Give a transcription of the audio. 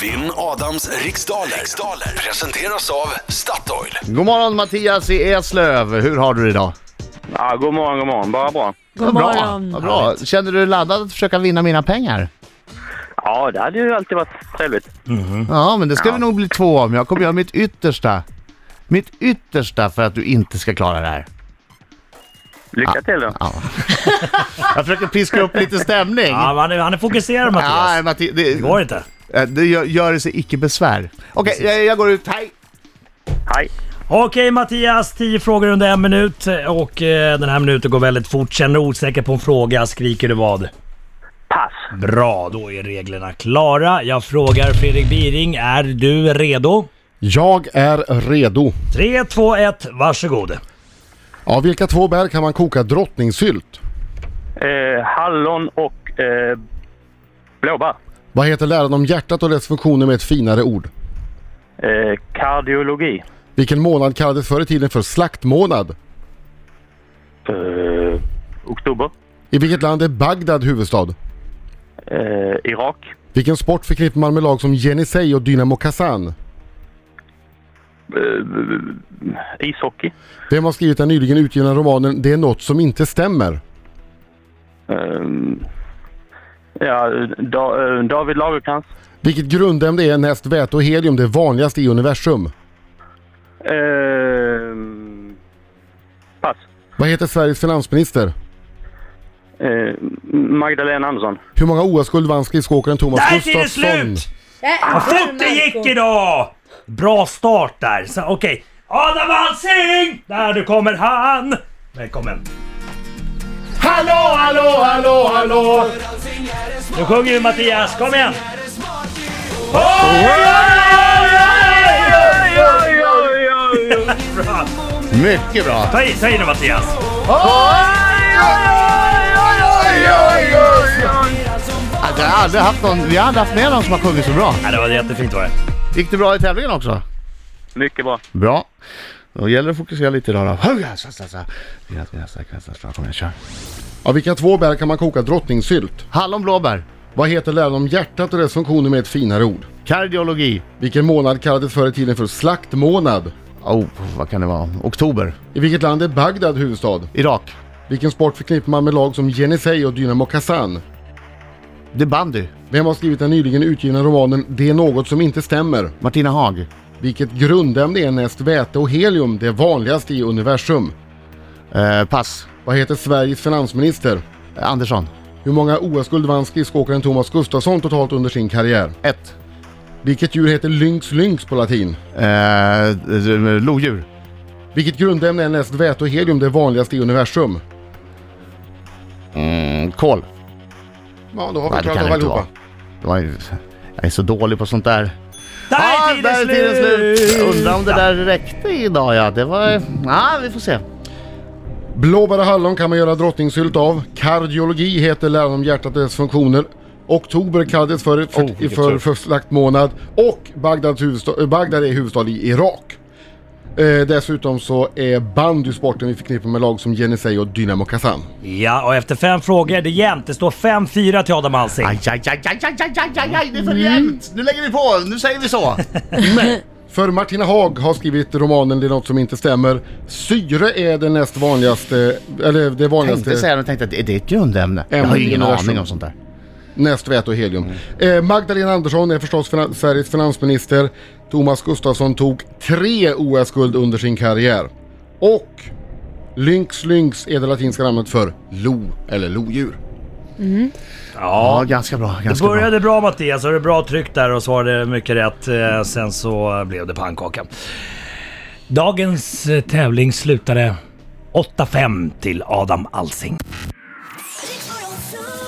Vinn Adams riksdaler. riksdaler presenteras av Statoil. God morgon Mattias i Eslöv, hur har du det idag? Ja, god morgon, god morgon. Bara bra. Vad God bra. morgon. Vad bra. Känner du dig laddad att försöka vinna mina pengar? Ja, det hade ju alltid varit trevligt. Ja, men det ska vi nog bli två om. Jag kommer göra mitt yttersta. Mitt yttersta för att du inte ska klara det här. Lycka till då. Ja. Jag försöker piska upp lite stämning. Ja, men han, är, han är fokuserad Ja, Mattias. Matti, Det det, går inte. eh, det gör, gör det sig icke besvär. Okej, jag, jag går ut. Hej! Hej. Okej Mattias, 10 frågor under en minut och eh, den här minuten går väldigt fort. Känner du osäker på en fråga skriker du vad? Pass. Bra, då är reglerna klara. Jag frågar Fredrik Biring, är du redo? Jag är redo. 3, 2, 1, varsågod. Av vilka två bär kan man koka drottningsylt? Eh, hallon och eh, blåbär. Vad heter läran om hjärtat och dess funktioner med ett finare ord? Eh, kardiologi. Vilken månad kallades förr i tiden för slaktmånad? Eh, oktober. I vilket land är Bagdad huvudstad? Eh, Irak. Vilken sport förknippar man med lag som Jenisej och Dynamo Kazan? Eh, ishockey. Vem har skrivit den nyligen utgivna romanen Det är något som inte stämmer? Eh, ja, da, eh, David Lagercrantz. Vilket grundämne är näst väte och helium det vanligaste i universum? Eh, pass. Vad heter Sveriges finansminister? Eh, Magdalena Andersson. Hur många OS-guld vann skridskoåkaren Thomas Där är det Gustafsson? slut! Vad fort det gick idag! Bra start där. Så, Okej. Adam Alsing! Där nu kommer han! Välkommen. Hallå, hallå, hallå, hallå! Nu sjunger vi Mattias, kom igen! Bra. Mycket bra. Ta i, ta i nu Mattias! Alltså, jag har aldrig haft någon, vi har aldrig haft med någon som har sjungit så bra. Ja, det var jättefint var det. Gick det bra i tävlingen också? Mycket bra. Bra. Då gäller det att fokusera lite idag då. Höja, sa, sa, sa. Dina, dina, sa, sa, sa, sa. Kom igen, kör. Av vilka två bär kan man koka drottningsylt? Hallon blåbär. Vad heter läran om hjärtat och dess funktioner med ett finare ord? Kardiologi. Vilken månad kallades förr i tiden för slaktmånad? Oh, vad kan det vara? Oktober. I vilket land är Bagdad huvudstad? Irak. Vilken sport förknippar man med lag som Jenisej och Dynamo Kazan? Det är bandy. Vem har skrivit den nyligen utgivna romanen Det är något som inte stämmer? Martina Haag. Vilket grundämne är näst väte och helium det vanligaste i universum? Eh, pass. Vad heter Sveriges finansminister? Eh, Andersson. Hur många OS-guld vann skridskoåkaren Thomas Gustafsson totalt under sin karriär? 1. Vilket djur heter lynx lynx på latin? Eh, eh, lodjur. Vilket grundämne är näst väte och helium det vanligaste i universum? Mm, kol. Ja, då har Nej, vi det kan klarat av det inte allihopa. vara. Det var ju... Jag är så dålig på sånt där. Där där är tiden slut! Undrar om det där räckte idag ja. Det var... Ja, vi får se. Blåbär och hallon kan man göra drottningsylt av. Kardiologi heter läran om hjärtat och dess funktioner. Oktober kallades för, för, för, för slaktmånad. Och Bagdads huvudsta- eh, Bagdad är huvudstad i Irak. Eh, dessutom så är bandy sporten vi förknippar med lag som Jenisej och Dynamo Kazan. Ja, och efter fem frågor är det jämnt. Det står 5-4 till Adam Alsing. Aj, aj, aj, aj, aj, aj, aj, aj, aj, det är för jämnt! Nu lägger vi på, nu säger vi så! För Martina Haag har skrivit romanen Det är något som inte stämmer. Syre är det näst vanligaste, eller det Jag tänkte vanligaste, säga det, tänkte att är det ett grundämne? Jag har ju ingen Ämne, aning om sånt där. näst väte och helium. Eh, Magdalena Andersson är förstås finan- Sveriges finansminister. Thomas Gustafsson tog tre OS-guld under sin karriär. Och Lynx Lynx är det latinska namnet för lo eller lodjur. Ja, ganska bra, Det ganska bra. började bra Mattias, och det är bra tryck där och svarade mycket rätt. Eh, Sen så blev det pannkaka. Dagens eh, tävling slutade 8-5 till Adam Alsing. Riks Morgonzoo.